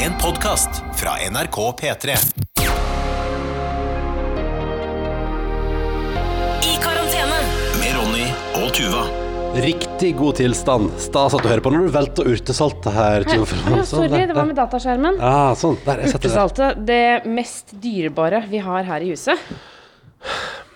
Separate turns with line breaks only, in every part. En podkast fra NRK P3.
I karantene.
Med Ronny og Tuva.
Riktig god tilstand. Stas at du hører på når du velter urtesaltet her. Tjue Froland.
Å,
Sånn, der,
Sorry, det var med
der.
dataskjermen.
Ah, sånn, der, jeg setter det.
Urtesaltet, det mest dyrebare vi har her i huset.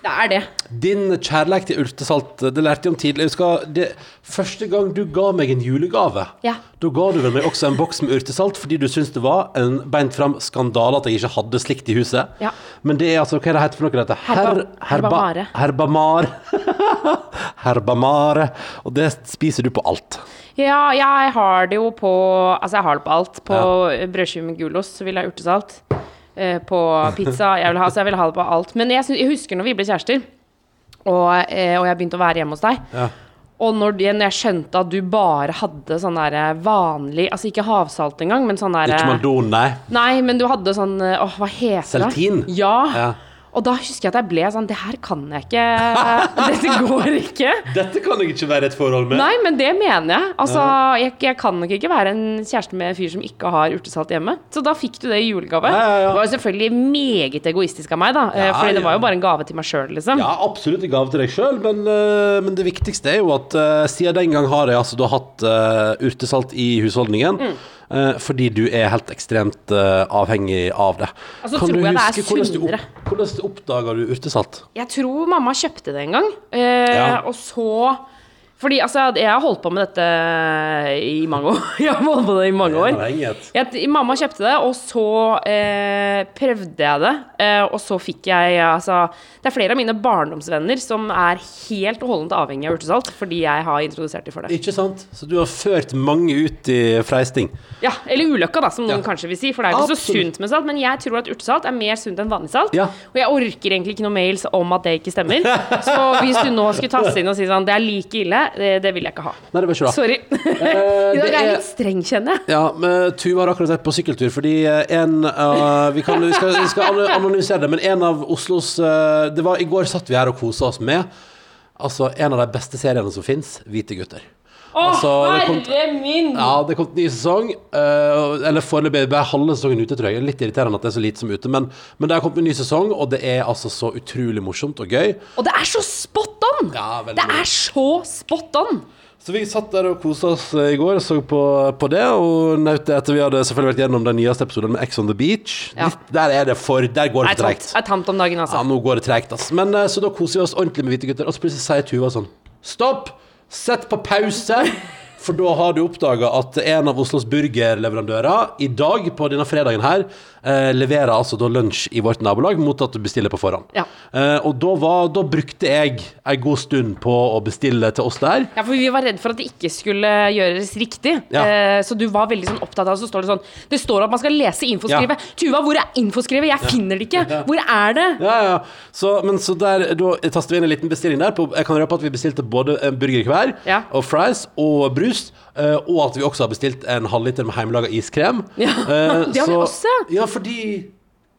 Det er det.
Din kjærleik til urtesalt, eh, det lærte jeg om tidlig. Jeg husker det, første gang du ga meg en julegave,
Ja.
da ga du vel meg også en boks med urtesalt fordi du syntes det var en beint fram skandale at jeg ikke hadde slikt i huset.
Ja.
Men det er altså, hva er det heter for noe dette?
Herba- herbamare.
Herbamar. Herbamare. Og det spiser du på alt.
Ja, jeg har det jo på Altså, jeg har det på alt. På brødskive med gulost så vil jeg ha urtesalt. Eh, På pizza jeg vil ha, så jeg vil ha det på alt. Men jeg, syns- jeg husker når vi ble kjærester, og, eh, og jeg begynte å være hjemme hos deg.
Ja.
Og når, de- når jeg skjønte at du bare hadde sånn der vanlig Altså ikke havsalt engang, men sånn der
Ikke mandon, nei.
Nei, men du hadde sånn Åh, hva heter det?
Seltin?
Ja.
Ja.
Og da husker jeg at jeg ble sånn Det her kan jeg ikke. Dette går ikke.
Dette kan jeg ikke være i et forhold med.
Nei, men det mener jeg. Altså, jeg, jeg kan nok ikke være en kjæreste med en fyr som ikke har urtesalt hjemme. Så da fikk du det i julegave.
Ja, ja, ja.
Det var jo selvfølgelig meget egoistisk av meg, da. eh,
Ja,
fordi det
ja.
var jo bare en gave til meg sjøl, liksom.
Ja, absolutt en gave til deg sjøl, men, eh, men det viktigste er jo at eh, siden den gang har jeg altså da hatt eh, urtesalt i husholdningen.
Mm.
eh, fordi du er helt ekstremt eh, avhengig av det.
Altså, tror jeg det er
hvordan du,
sunnere.
opp, hvordan du oppdaga du urtesalt?
Jeg tror mamma kjøpte det en gang. Eh,
Ja.
Og så Fordi altså, jeg har holdt på med dette i mange år. Jeg har holdt på med det i mange år.
Avhengighet.
Jeg, mamma kjøpte det, og så eh, prøvde jeg det. Eh, og så fikk jeg altså Det er flere av mine barndomsvenner som er helt og holdent avhengig av urtesalt fordi jeg har introdusert dem for det.
Ikke sant? Så du har ført mange ut i freisting.
Ja, Eller ulykka, da, som noen
Ja.
kanskje vil si. For det er jo ikke så
Absolutt.
sunt med salt. Men jeg tror at urtesalt er mer sunt enn vanlig salt.
Ja.
Og jeg orker egentlig ikke noen mails om at det ikke stemmer. Så hvis du nå skulle tasse inn og si sånn Det er like ille, det, det vil jeg ikke ha.
Nei, det var ikke det.
Sorry. I dag
Eh, det
er jeg
er-
litt streng, kjenner jeg.
Ja, men Tuva har akkurat vært på sykkeltur fordi eh, en eh, Vi, kan, vi, skal, vi skal an- anonymisere det, men en av Oslos eh, Det var I går satt vi her og kosa oss med Altså, en av de beste seriene som fins, Hvite gutter.
Å,
Altså, det kom-
herre min!
Ja, det kom en ny sesong. eh, eller foreløpig ble halve sesongen ute, tror jeg. Litt irriterende at det er så lite som er ute, men, men det har kommet en ny sesong, og det er altså så utrolig morsomt og gøy.
Og det er så spot on!
Ja, veldig
det
bra.
er så spot on!
Så vi satt der og kosa oss eh, i går og så på, på det, og nøt det etter vi hadde selvfølgelig vært gjennom den nyeste episoden med Ex on the Beach.
Ja.
Litt, der er det for Der går det for
Det er tamt,
treigt.
det er tamt om dagen, altså.
Ja, nå går det tregt, ass. Men eh, så da koser vi oss ordentlig med hvite gutter, og så plutselig sier Tuva sånn Stopp! Sett på pause! For da har du oppdaga at en av Oslos burgerleverandører i dag, på denne fredagen her, eh, leverer altså da lunsj i vårt nabolag mot at du bestiller på forhånd.
Ja.
Eh, og da, var, da brukte jeg ei god stund på å bestille til oss der.
Ja, for Vi var redd for at det ikke skulle gjøres riktig.
Ja.
Eh, så du var veldig sånn opptatt av Så står det sånn Det står at man skal lese infoskrivet. Tuva, hvor er infoskrivet? Jeg finner det ikke! Hvor er det?
Ja, ja. Så, men så der, da tastet vi inn en liten bestilling der. På, jeg kan røpe at vi bestilte både en burger hver,
Ja.
og fries og brus. eh, og at vi også har bestilt en halvliter med hjemmelaga iskrem.
Ja,
Eh,
det har vi
så-
også.
Ja, fordi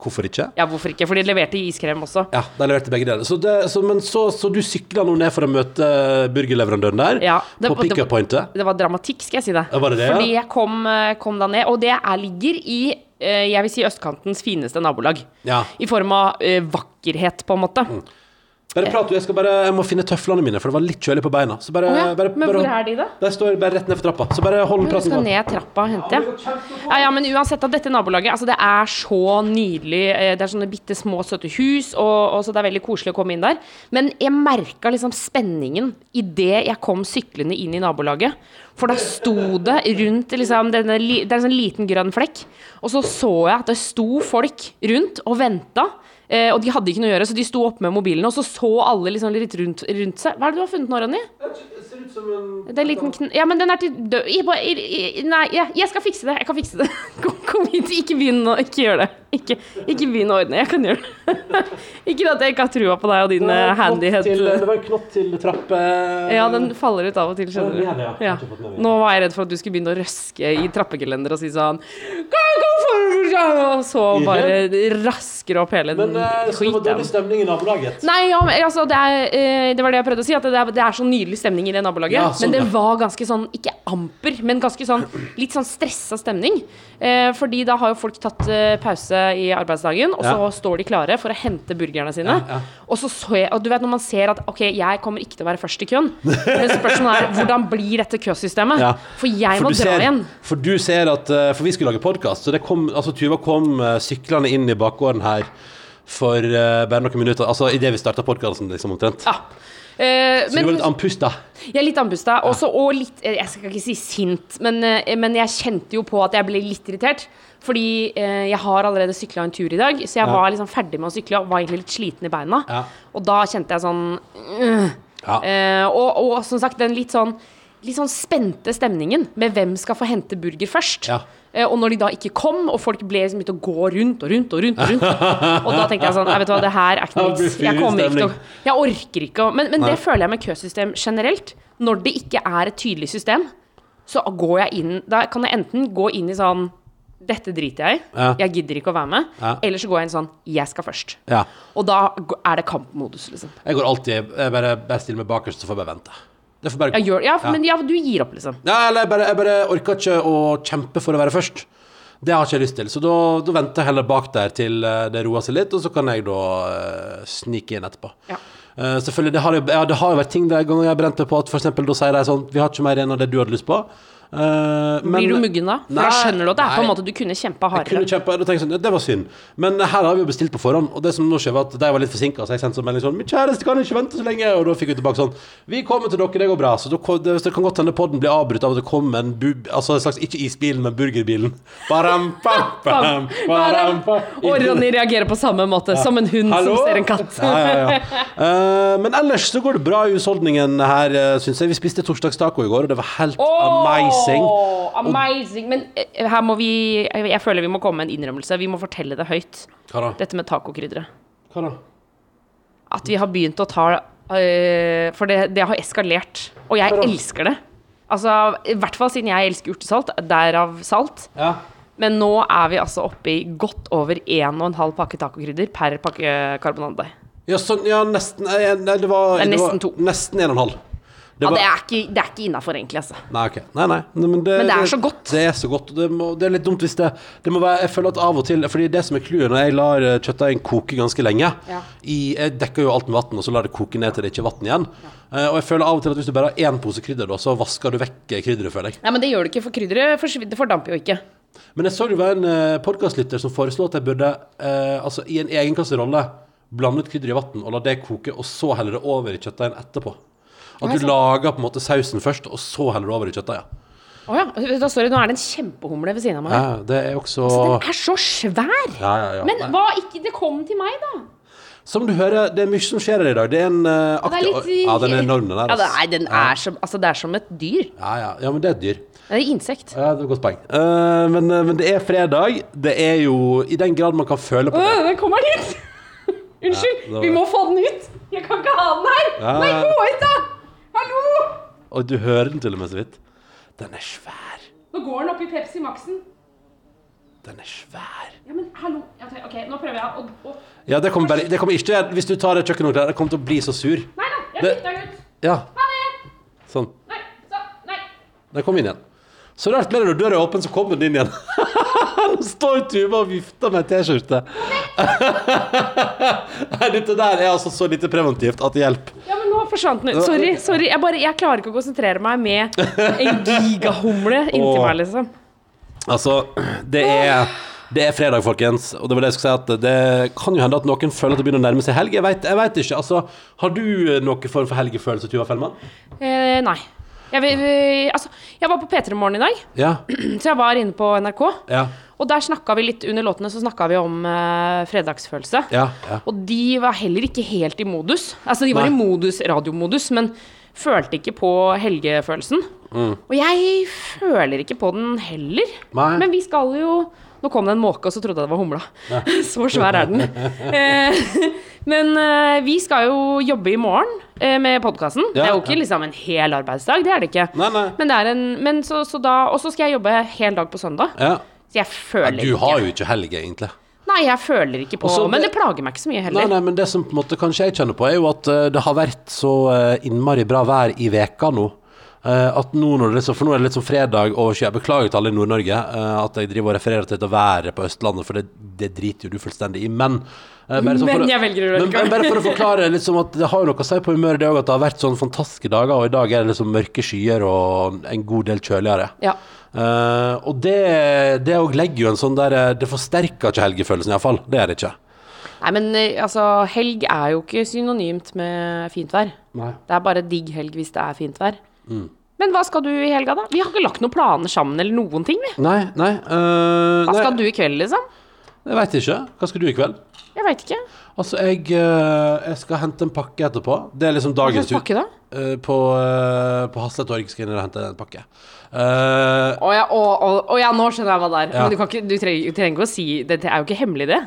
Hvorfor ikke?
Ja, hvorfor ikke? For de leverte iskrem også.
Ja, de leverte begge deler. Så, det, så, men så, så du sykla nå ned for å møte eh, burgerleverandøren der?
Ja, det-
på
det-
pick-up pointet?
Det var dramatikk, skal jeg si deg.
Ja, var det det, ja?
Fordi jeg kom, eh, kom da ned. Og det er, ligger i eh, jeg vil si østkantens fineste nabolag.
Ja. Mm.
I form av eh, vakkerhet, på en måte.
Bare prat, du. Jeg, skal bare, jeg må finne tøflene mine, for det var litt kjølig på beina. Så bare,
Å ja,
bare,
men
bare,
hvor er de da?
De står bare rett ned for trappa. Så bare hold
Du
praten
skal
gående.
ned trappa og hente, ja. ja. Ja, men uansett, da, dette nabolaget altså det er så nydelig. eh, Det er sånne bitte små, søte hus, og, og så det er veldig koselig å komme inn der. Men jeg merka liksom spenningen idet jeg kom syklende inn i nabolaget. For da sto det rundt liksom, denne, li- Det er en sånn liten grønn flekk. Og så så jeg at det sto folk rundt og venta. Eh, og de hadde ikke noe å gjøre, så de sto oppe med mobilene. Og så så alle liksom litt rundt, rundt seg. Hva er det du har funnet nå, Ronny? Det er en liten kn... Ja, men den er til død... I, på- i, i, nei, ja, jeg skal fikse det. Jeg kan fikse det. Kom, kom hit. Ikke begynn å Ikke gjør det. Ikke, ikke begynn å ordne. Jeg kan gjøre det. Ikke at jeg ikke har trua på deg og din
Det var
eh,
en knott
handyhet.
til- Det var en knott til trappe...
Ja, den faller ut av og til,
Ja,
skjønner
den
du.
gjør det, ja.
Ja.
Jeg har ikke fått med meg.
Nå var jeg redd for at du skulle begynne å røske i trappegelenderet og si sånn «Kom, kom, for- ja», Og så bare rasker opp hele den
Men eh, så det var
skiten.
dårlig stemning i nabolaget.
Nei, ja, men, altså, det, er, eh, det var det jeg prøvde å si, at det er, det er så nydelig stemning i det nabolaget.
Ja, sånn,
men det
ja.
var ganske sånn ikke amper, men ganske sånn litt sånn stressa stemning. Eh, fordi da har jo folk tatt eh, pause i arbeidsdagen, og så
Ja.
står de klare for å hente burgerne sine.
Ja, ja.
Og så så jeg, og du vet når man ser at ok, jeg kommer ikke til å være først i køen, men spørsmålet er hvordan blir dette køsystemet?
Ja.
For jeg må
du
dra
ser,
igjen.
For du ser at eh, For vi skulle lage podkast, så det kom, altså, Tuva kom eh, syklende inn i bakgården her for eh, bare noen minutter. Altså idet vi starta podkasten, liksom, omtrent.
Ja. Eh,
så du var litt andpusta.
Jeg er litt andpusta. også- Og litt eh, Jeg skal ikke si sint, men, eh, men jeg kjente jo på at jeg ble litt irritert. Fordi eh, jeg har allerede sykla en tur i dag, så jeg var liksom ferdig med å sykle og var egentlig litt sliten i beina.
Ja.
Og da kjente jeg sånn øh.
Ja.
eh, og, og som sagt, den litt sånn Litt sånn spente stemningen med hvem skal få hente burger først.
Ja.
Eh, og når de da ikke kom, og folk ble liksom begynte å gå rundt og rundt og rundt. Og rundt Og da tenkte jeg sånn Nei, vet du hva, det her er ikke
Det
noe
blir
vits. Jeg kommer ikke til å
fyrstemning.
jeg orker ikke å Men, men det føler jeg med køsystem generelt. Når det ikke er et tydelig system, så går jeg inn Da kan jeg enten gå inn i sånn Dette driter jeg i.
Ja.
Jeg gidder ikke å være med.
Ja.
Eller så går jeg inn sånn Jeg skal først.
Ja.
Og da g- er det kampmodus, liksom.
Jeg går alltid Jeg bare, bare stiller meg bakerst, så får jeg bare vente. Det får bare
Jeg gjør, ja,
Ja.
men ja, du gir opp, liksom.
Nei, eller jeg bare, jeg bare orker ikke å kjempe for å være først. Det har ikke jeg lyst til, så da, da venter jeg heller bak der til eh, det roer seg litt, og så kan jeg da eh, snike inn etterpå.
Ja.
Eh, selvfølgelig, det har, jo- ja, det har jo vært ting der ganger jeg har brent meg på at for eksempel da sier de sånn Vi har ikke mer igjen av det du hadde lyst på. Eh, men-
Blir du muggen da? For da
Nei,
skjønner du at det er på en
nei.
måte du kunne kjempa
Jeg kunne
hardere.
kjempe, da tenker jeg sånn, ja, Det var synd, men her har vi jo bestilt på forhånd. Og det som nå skjer var at De var litt forsinka, så jeg sendte sånn melding sånn 'Min kjæreste kan ikke vente så lenge.' Og da fikk vi tilbake sånn 'Vi kommer til dere, det går bra.' Så da, kom- det, så det kan godt hende podden blir avbrutt av at det kom en bu, Altså en slags ikke isbilen, men burgerbilen. Baram, bam, bam, baram, bam.
Og Ronny reagerer på samme måte, som en hund
Hallo?
som ser en katt.
Ja, ja, ja. Eh, men ellers så går det bra i husholdningen her, uh, syns jeg. Vi spiste torsdagstaco i går, og det var helt
Åh,
amazing.
amazing. Men eh, her må vi Jeg jeg føler vi må komme med en innrømmelse. Vi må fortelle det høyt.
Hva da?
Dette med tacokrydderet.
Hva da?
At vi har begynt å ta eh, For det, det har eskalert. Og jeg
Hva da?
elsker det. Altså, I hvert fall siden jeg elsker urtesalt. Derav salt.
Ja.
Men nå er vi altså oppe i godt over 1,5 pakke tacokrydder per pakke karbonadedeig.
Ja, sånn, ja nesten eh, Nei, det var
Det
var
er nesten to.
Nesten en og en halv.
Ja,
var-
det er ikke, det er ikke innafor, egentlig. altså
Nei, ok. Nei, nei. Nei, men, det,
Men det er så godt.
Det er så godt. og Det, må, det er litt dumt hvis det, det må være, Jeg føler at av og til Fordi det som er clouet når jeg lar eh, kjøttdeigen koke ganske lenge
Ja.
i, Jeg dekker jo alt med vann, og så lar det koke ned til det ikke er vann igjen. Eh, og jeg føler av og til at hvis du bare har én pose krydder, da, så vasker du vekk eh, krydderet, føler jeg.
Nei, men det gjør det ikke, for krydderet forsvin- det fordamper jo ikke.
Men jeg så det var en uh, podkastlytter som foreslo at jeg burde, eh, altså i en egen kasserolle, blande ut krydder i vann og la det koke, og så helle det over i kjøttdeigen etterpå. At du lager på en måte sausen først, og så heller det over i kjøttdeigen.
Å ja. vet du hva, Sorry, nå er det en kjempehumle ved siden av meg.
Ja, det er også
Den Altså, er så svær!
ja, ja, ja.
Men hva ikke Det kom til meg, da.
Som du hører, det er mye som skjer her i dag. Det er en eh,
Det
aktiv Ja, den er enorm, den der.
Ja, det,
ass.
nei, den er som Altså, det er som et dyr.
Ja, ja. ja, men det er et dyr.
Det er et insekt.
Ja, det er et godt poeng. Eh, men, eh, men det er fredag. Det er jo I den grad man kan føle på det.
Øh, den kommer hit!
Ja,
Unnskyld,
det var-
vi må få den ut! Jeg kan ikke ha den her!
Ja.
Nei, gå ut, da! Hallo!
Og du hører den til og med så vidt. Den er svær.
Nå går den opp i Pepsi Max-en.
Den er svær.
Ja, men hallo Ja, OK, nå prøver jeg å, å
Ja, det kommer, bare, det kommer ikke til å- Hvis du tar det kjøkkenhåndkleet, det kommer til å bli så sur.
Nei da, jeg
Det-
bytter den ut.
Ja,
Ha det!
sånn.
Nei, så, nei.
Den kom inn igjen. Så rart blir det når døra er åpen, så kommer den inn igjen. Nå står Tuva og vifter med en T-skjorte. Nei, Dette der er altså så lite preventivt at det hjelper.
Ja, men nå forsvant den ut. Sorry. sorry Jeg, bare, jeg klarer ikke å konsentrere meg med en gigahumle inntil
Åh.
meg, liksom.
Altså, det er, det er fredag, folkens. Og det var det jeg skulle si, at det kan jo hende at noen føler at det begynner å nærme seg helg. Jeg veit jeg vet ikke. Altså, har du noen form for helgefølelse, Tuva Fellmann?
Eh, nei. Jeg, vil- vil- altså, jeg var på P3 Morgen i dag,
Ja.
så jeg var inne på NRK.
Ja.
Og der snakka vi litt under låtene så snakket vi om eh, fredagsfølelse.
Ja. ja.
Og de var heller ikke helt i modus. Altså, de var
Nei.
i modus, radiomodus, men følte ikke på helgefølelsen. Og jeg føler ikke på den heller.
Mm. Nei.
Men vi skal jo Nå kom det en måke, og så trodde jeg det var humla. Så svær er den. Eh, Men eh, vi skal jo jobbe i morgen eh, med podkasten. det
Ja,
er jo ikke
ja.
liksom en hel arbeidsdag, det er det ikke.
Nei, nei.
Men det er en men så, så da, Og så skal jeg jobbe hel dag på søndag.
ja.
Så jeg føler
Du har
ikke
jo ikke helg, egentlig.
Nei, jeg føler ikke på
Og så
Men det
det-
plager meg ikke så mye
Nei,
heller.
nei, men det som på en måte kanskje jeg kjenner på, er jo at eh, det har vært så eh, innmari bra vær i veka nå. Eh, at nå når det liksom, for nå er det litt sånn fredag og jeg beklager til alle i Nord-Norge eh, at jeg driver og refererer til dette været på Østlandet, for det, det driter jo du fullstendig i. Men eh, bare sånn
Men
for å-
jeg velger å gjøre det
men, men bare for å forklare liksom at det har jo noe å si på humøret, det òg, at det har vært sånne fantastiske dager, og i dag er det liksom mørke skyer og en god del kjøligere.
Ja.
Eh, og det det òg legger jo en sånn der eh, Det forsterker ikke helgefølelsen, iallfall. Det er det ikke.
Nei, men eh, altså, helg er jo ikke synonymt med fint vær.
Nei.
Det er bare digg helg hvis det er fint vær.
Mm.
Men hva skal du i helga, da? Vi har ikke lagt noen planer sammen eller noen ting, vi.
Nei, nei, eh,
Hva
nei
skal du i kveld, liksom?
Jeg veit ikke. Hva skal du i kveld?
Jeg veit ikke.
Altså, jeg, eh, jeg skal hente en pakke etterpå. Det er liksom
Hva
dagens
slags pakke, da?
Eh, på uh, på Hasle Torg skal jeg inn og hente en pakke. Eh,
Å ja, å, å, å ja, nå skjønner jeg hva det er.
Ja.
Men du, kan ikke, du trenger, du trenger ikke å si det. Det er jo ikke hemmelig, det.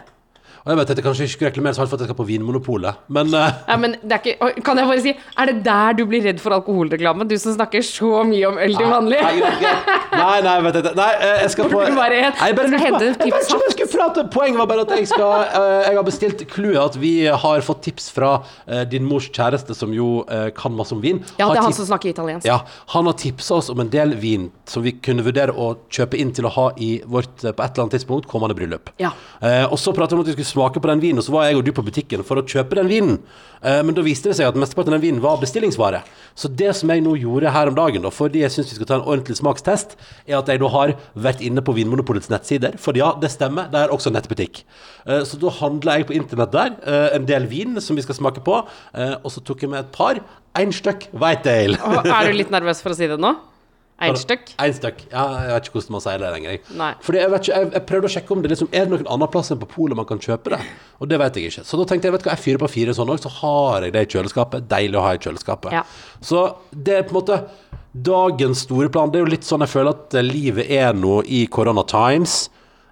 og jeg vet at jeg kanskje ikke skulle reklamere så hardt for at jeg skal på Vinmonopolet, men eh,
Nei, men det er ikke, Oi, kan jeg bare si Er det der du blir redd for alkoholreklame? Du som snakker så mye om øl til vanlig.
Nei, greit, greit. nei, nei, vet jeg ikke. Nei, eh, jeg skal på
Burde du bare-
Nei, jeg bare
skal
lurte på-
hente en type
Jeg vet ikke om jeg skulle prate. Poenget var bare at jeg skal eh, Jeg har bestilt clouet at vi har fått tips fra eh, din mors kjæreste, som jo eh, kan masse om vin.
Ja,
Har
det er han
tips-
som snakker italiensk.
Ja, Han har tipsa oss om en del vin som vi kunne vurdere å kjøpe inn til å ha i vårt eh, på et eller annet tidspunkt kommende bryllup.
Ja.
Eh, og så pratet vi om at vi skulle smake på den vinen, og så var jeg og du på butikken for å kjøpe den vinen. Eh, men da viste det seg at mesteparten av den vinen var bestillingsvare. Så det som jeg nå gjorde her om dagen, da, fordi jeg syns vi skal ta en ordentlig smakstest, er at jeg da har vært inne på Vinmonopolets nettsider. For ja, det stemmer, det er også nettbutikk. Eh, så da handla jeg på internett der eh, en del vin som vi skal smake på, eh, og så tok jeg med et par. Én stykk White Ale.
Å, Er du litt nervøs for å si det nå? Eitt stykk?
En stykk. Ja, jeg vet ikke hvordan man sier det lenger. jeg.
Nei.
Fordi jeg, vet ikke, jeg, jeg prøvde å sjekke om det liksom, er det noen annen plass enn på polet man kan kjøpe det. Og det vet jeg ikke. Så da tenkte jeg vet du hva, jeg fyrer på fire sånn også, så har jeg det i kjøleskapet. Deilig å ha i kjøleskapet.
Ja.
Så det er på en måte dagens store plan. Det er jo litt sånn jeg føler at eh, livet er nå i Corona Times,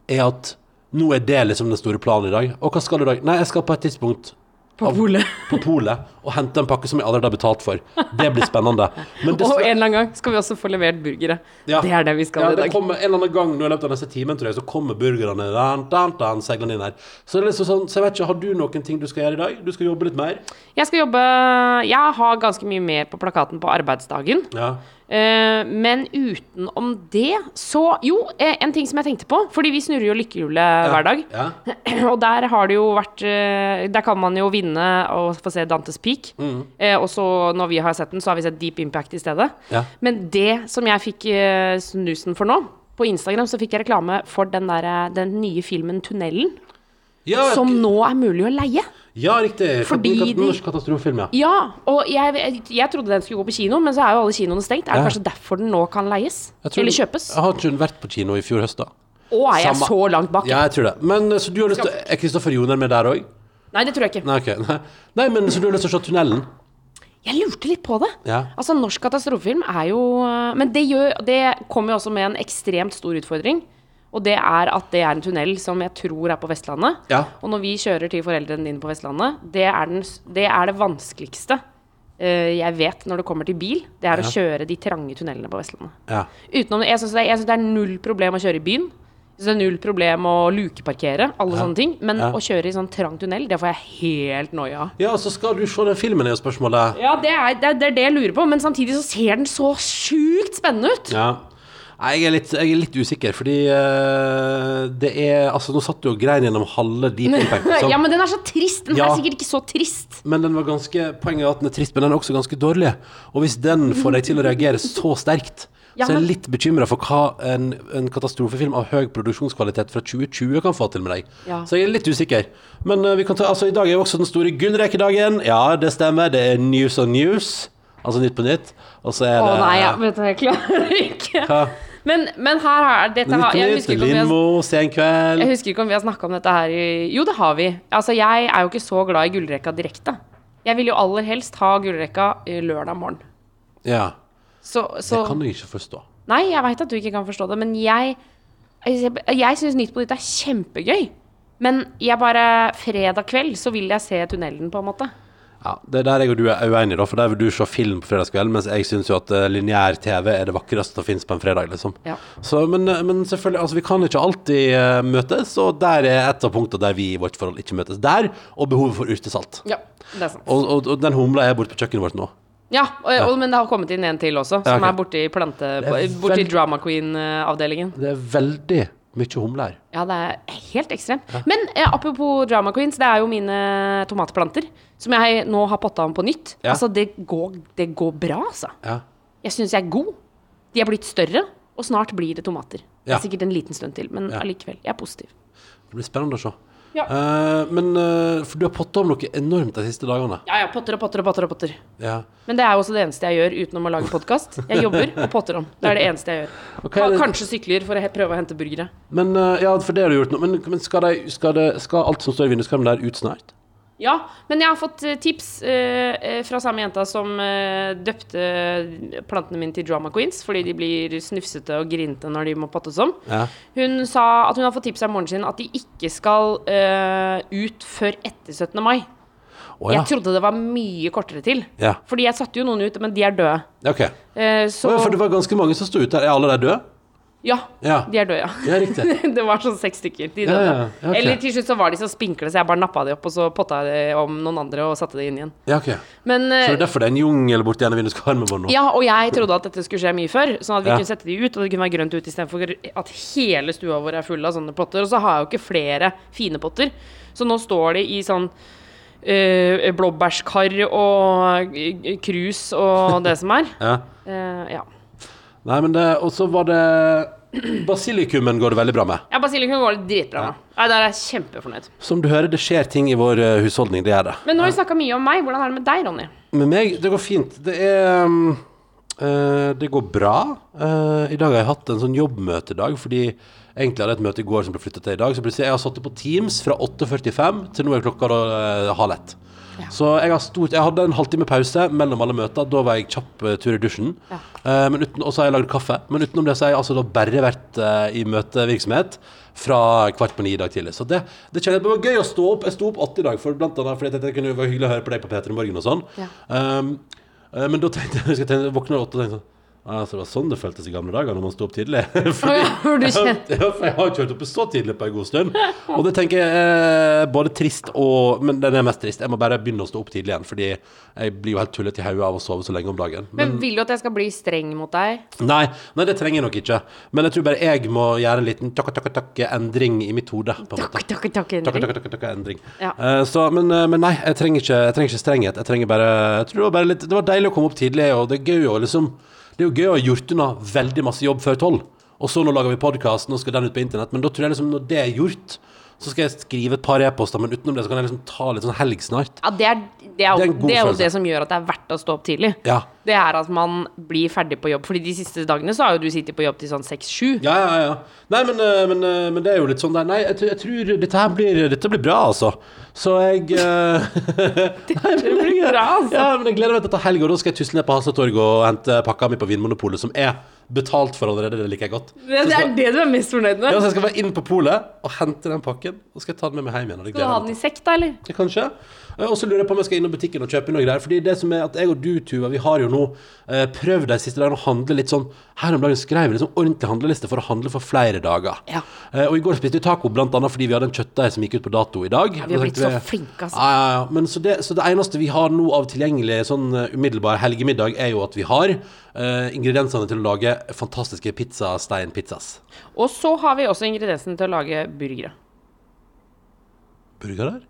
er at nå er det liksom den store planen i dag. Og hva skal du i dag? Nei, jeg skal på et tidspunkt
På
av-
polet.
på polet og hente en pakke som jeg allerede har betalt for. Det blir spennende. Men
Og en
dessverre-
eller annen gang skal vi også få levert burgere.
ja.
Det er det vi skal
ja,
i dag.
Det kommer en eller annen gang nå i løpet av neste timen, tror jeg, så kommer burgerne dan, dan, dan, seilende inn her. Så det er liksom sånn, så jeg vet ikke, har du noen ting du skal gjøre i dag? Du skal jobbe litt mer?
Jeg skal jobbe Jeg har ganske mye mer på plakaten på arbeidsdagen.
Ja.
Eh, men utenom det, så Jo, eh, en ting som jeg tenkte på. Fordi vi snurrer jo lykkehjulet hver dag.
Ja.
Og der har det jo vært eh, Der kan man jo vinne og få se Dantes Peak.
Mm.
Eh, Og så, når vi har sett den, så har vi sett Deep Impact i stedet.
Ja.
Men det som jeg fikk eh, snusen for nå På Instagram så fikk jeg reklame for den, der, eh, den nye filmen 'Tunnelen',
Ja,
som nå er mulig å leie.
ja, riktig.
Fordi
Kat-
de-
Norsk katastrofefilm, ja.
Ja, og jeg, jeg trodde den skulle gå på kino, men så er jo alle kinoene stengt. Er det
Ja.
kanskje derfor den nå kan leies?
Jeg tror-
Eller kjøpes?
Jeg har ikke hun vært på kino i fjor høst, da.
Å, er jeg
Samme-
så langt bak?
Ja, jeg tror det. Men eh, så du har lyst til Er Kristoffer Joner med der òg?
Nei, det tror jeg ikke.
Nei, ok. Nei. Nei, men så du har lyst til å se Tunnelen?
Jeg lurte litt på det.
Ja.
Altså, norsk katastrofefilm er jo eh, Men det, gjør, det kommer jo også med en ekstremt stor utfordring. Og det er at det er en tunnel som jeg tror er på Vestlandet.
Ja.
Og når vi kjører til foreldrene dine på Vestlandet, det er, den, s- det, er det vanskeligste eh, jeg vet når det kommer til bil. Det er å kjøre de trange tunnelene på Vestlandet.
Ja.
Utenom det, jeg syns det, jeg synes det er null problem å kjøre i byen. Jeg synes det er null problem å lukeparkere, alle sånne ting. Men
Ja.
å kjøre i sånn trang tunnel, det får jeg helt noia av.
ja, så skal du se den filmen, er jo spørsmålet.
Ja, det er, det er det er det jeg lurer på, men samtidig så ser den så sjukt spennende ut.
Ja. Nei, jeg er litt, jeg er litt usikker, fordi eh, det er Altså, nå satt du og grein gjennom halve Deep Impact. liksom.
Ja, men den er så trist. Den
Ja.
er sikkert ikke så trist.
Men den var ganske, poenget er at den er trist, men den er også ganske dårlig. Og hvis den får deg til å reagere så sterkt,
Ja,
så er jeg
men-
litt bekymra for hva en, en katastrofefilm av høy produksjonskvalitet fra 2020 kan få til med deg.
Ja.
Så jeg er litt usikker. Men eh, vi kan ta, altså, i dag er jo også den store gullrekedagen. Ja, det stemmer. Det er news on news. Altså Nytt på Nytt. Og så er
Å
det
nei, jeg, vet du, jeg klarer ikke.
Hva?
Men, men her er dette
Nytt
har,
på
jeg,
Nytt,
husker ikke om vi har,
Lindmo, Sen kveld.
jeg husker ikke om vi har snakka om dette her i Jo, det har vi. Altså, jeg er jo ikke så glad i gullrekka direkte. Jeg vil jo aller helst ha gullrekka eh, lørdag morgen.
Ja.
Så,
Det
så
kan du ikke forstå.
Nei, jeg veit at du ikke kan forstå det, men jeg Jeg, jeg syns Nytt på Nytt er kjempegøy. Men jeg bare Fredag kveld så vil jeg se tunnelen, på en måte.
Ja, Det er der jeg og du er uenige, da, for der vil du se film på fredagskvelden, mens jeg syns jo at eh, lineær TV er det vakreste som fins på en fredag, liksom.
Ja.
Så, men, eh, men selvfølgelig, altså vi kan ikke alltid eh, møtes, og der er et av punktene der vi i vårt forhold ikke møtes. Der, og behovet for urtesalt.
Ja, det er sant.
Og, og, og den humla er borte på kjøkkenet vårt nå.
Ja, og, og, men det har kommet inn en til også, som
ok.
er borti plante...
Det er
Borti
veld-
drama queen-avdelingen.
Det er veldig mye humle her.
Ja, det er helt ekstremt. Men eh, apropos drama queens, det er jo mine tomatplanter. Som jeg nå har potta om på nytt.
Ja.
Altså, det går, det går bra, altså.
Ja.
Jeg syns jeg er god. De er blitt større, og snart blir det tomater. Det
Ja.
er sikkert en liten stund til, men
Ja.
allikevel. Jeg er positiv.
Det blir spennende å se.
Ja.
Eh, men eh, For du har potta om noe enormt de siste dagene.
Ja, ja, potter og potter og potter og potter.
Ja.
Men det er jo også det eneste jeg gjør utenom å lage podkast. Jeg jobber og potter om. Det er det eneste jeg gjør.
Ok, det-
Kanskje sykler for å he- prøve å hente burgere.
Men eh, ja, for det har du gjort nå. Men, men skal, de, skal, det, skal alt som står i vinduskarmen der, ut snart?
Ja, men jeg har fått eh, tips eh, eh, fra samme jenta som eh, døpte eh, plantene mine til Drama Queens, fordi de blir snufsete og grinte når de må pottes om.
Ja.
Hun sa at hun har fått tips av moren sin at de ikke skal eh, ut før etter 17. mai.
Å ja.
Jeg trodde det var mye kortere til.
Ja.
Fordi jeg satte jo noen ut, men de er døde.
Ok.
Eh,
Å
så
ja, for det var ganske mange som sto ute her. Er alle de døde?
ja,
Ja.
de er døde, ja.
Ja, riktig.
Det var sånn seks stykker. De
Ja,
døde.
ja, ja, ok.
Eller til slutt så var de så spinkle, så jeg bare nappa de opp, og så potta jeg det om noen andre og satte det inn igjen.
Ja, ok.
Men eh,
Så det er derfor det er en jungel borti en av vinduskarmen vår nå?
Ja, og jeg trodde at dette skulle skje mye før, sånn at vi
Ja.
kunne sette de ut, og det kunne være grønt ute istedenfor at hele stua vår er full av sånne potter. Og så har jeg jo ikke flere fine potter, så nå står de i sånn eh, blåbærskar og eh, krus og det som er.
Ja.
Eh, ja.
Nei, men det Og så var det Basilikumen går det veldig bra med.
ja basilikum går det dritbra med. Nei, der er jeg kjempefornøyd.
Som du hører, det skjer ting i vår eh, husholdning. Det gjør det.
Men nå har vi snakka mye om meg. Hvordan er det med deg, Ronny?
Med meg, det går fint. Det er um, eh, Det går bra. Eh, I dag har jeg hatt en sånn jobbmøtedag, fordi egentlig hadde jeg et møte i går som ble flytta til i dag. Så plutselig jeg har satt det på Teams fra 8.45 til nå er klokka da, eh, halv ett. Så jeg, har stort, jeg hadde en halvtime pause mellom alle møter. Da var jeg kjapp eh, tur i dusjen.
Ja.
Eh, men uten, og så har jeg lagd kaffe. Men utenom det så har jeg altså da bare vært eh, i møtevirksomhet fra kvart på ni i dag tidlig. Så det, det kjenner jeg det var gøy å stå opp. Jeg sto opp åtte i dag, for blant annet fordi jeg tenkte det kunne være hyggelig å høre på deg på P3 Morgen og sånn.
Ja.
Um, eh, men da tenkte jeg, jeg tenkte, våkna åtte og tenkte sånn Ah, så det var sånn det føltes i gamle dager når man sto opp tidlig. Fordi,
Å ja, hvor du kjente-
ja, for jeg har kjørt opp så tidlig på en god stund. Og det tenker jeg er både trist og Men den er mest trist. Jeg må bare begynne å stå opp tidlig igjen, fordi jeg blir jo helt tullet i hodet av å sove så lenge om dagen. Men,
Men vil du at jeg skal bli streng mot deg?
nei, nei, det trenger jeg nok ikke. Men jeg tror bare jeg må gjøre en liten takka, takka, takka endring i mitt hode. på en måte.
Takk, takk, takk,
Takka,
Henrik.
takka, takka, takka, endring.
Ja.
Eh, så, men, eh, men nei, jeg trenger, ikke, jeg trenger ikke strenghet. Jeg trenger bare, jeg tror det, var bare litt, det var deilig å komme opp tidlig, og det er gøy å liksom Det er jo gøy å ha gjort unna veldig masse jobb før tolv. Og så nå lager vi podkast, nå skal den ut på internett. Men da tror jeg liksom når det er gjort, så skal jeg skrive et par e-poster, men utenom det så kan jeg liksom ta litt sånn helg snart.
Ja, det er, det er,
Det er
jo,
en god
det er jo
følelse.
det som gjør at det er verdt å stå opp tidlig.
Ja.
Det er at man blir ferdig på jobb. Fordi de siste dagene så har jo du sittet på jobb til sånn seks-sju.
Ja, ja, ja. Nei, men, eh, men, eh, men det er jo litt sånn der Nei, jeg, tr- jeg tror dette her blir, dette blir bra, altså. Så jeg eh, Nei, men
blir
jeg-
bra, altså.
Ja, men jeg gleder meg til å ta helg, og da skal jeg tusle ned på Hasletorget og hente pakka mi på Vinmonopolet, som er betalt for allerede, det liker jeg godt.
Det, det er det du er mest fornøyd
Ja,
med.
så jeg skal bare inn på polet og hente den pakken, og skal jeg ta den med meg hjem igjen. og det
Skal du ha
gleder jeg meg
den i sekk, da, eller?
til. Kanskje. Eh, Og så lurer jeg på om jeg skal innom butikken og kjøpe noe greier. Fordi det som er at jeg og du, Tuva, vi har jo nå eh, prøvd de siste dagene å handle litt sånn Her om dagen skrev vi liksom ordentlig handleliste for å handle for flere dager.
Ja.
Eh, og i går spiste vi taco, blant annet fordi vi hadde en kjøttdeig som gikk ut på dato i dag.
vi har
Da
blitt
tenkte
så flinke, altså.
Ja, ja, ja. Men så, det, så det eneste vi har nå av tilgjengelig sånn eh, umiddelbar helgemiddag, er jo at vi har eh, ingrediensene til å lage fantastiske pizzasteinpizzas.
Og så har vi også ingrediensene til å lage burgere.
Burgerer?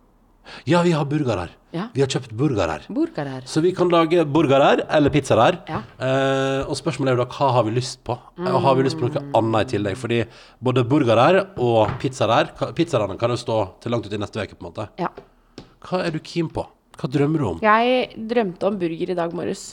Ja, vi har burgerer.
Ja.
Vi har kjøpt burgerer.
Burger her.
Så vi kan lage burgerer eller pizzaer.
Ja.
Eh, og spørsmålet er jo da hva har vi lyst på? Og har vi lyst på noe annet i tillegg? Fordi både burgerer og pizzaer Pizzaene kan jo stå til langt ut i neste uke, på en måte.
Ja.
Hva er du keen på? Hva drømmer du om?
Jeg drømte om burger i dag morges.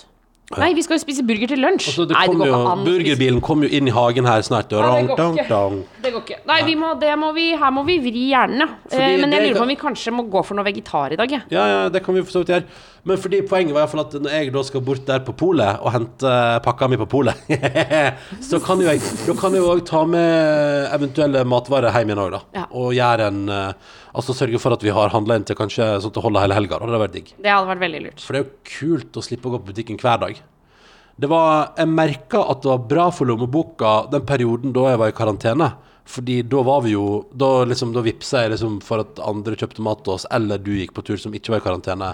Nei, vi skal jo spise burger til lunsj!
Så det
Nei,
kom
går
jo,
ikke an å spise-
burgerbilen kom jo inn i hagen her snart. Og
Nei,
rang,
det går
dang,
ikke.
dang.
Det går ikke. Nei, vi må, det må vi, her må vi vri hjernen, ja. Eh,
Fordi
men jeg
det-
lurer på om vi kanskje må gå for noe vegetar i dag, jeg.
Ja, ja, det kan vi for så vidt gjøre. Men fordi poenget var i hvert fall at når jeg da skal bort der på polet og hente eh, pakka mi på polet, så kan jo jeg Da kan jeg jo òg ta med eventuelle matvarer hjem igjen òg, da.
Ja.
Og gjøre en eh, Altså sørge for at vi har handla inn til kanskje sånn at det holder hele helga. da. Det hadde vært digg.
Det hadde vært veldig lurt.
For det er jo kult å slippe å gå på butikken hver dag. Det var, jeg merka at det var bra for lommeboka den perioden da jeg var i karantene. Fordi da var vi jo Da, liksom, da vippsa jeg liksom for at andre kjøpte mat til oss, eller du gikk på tur som ikke var i karantene.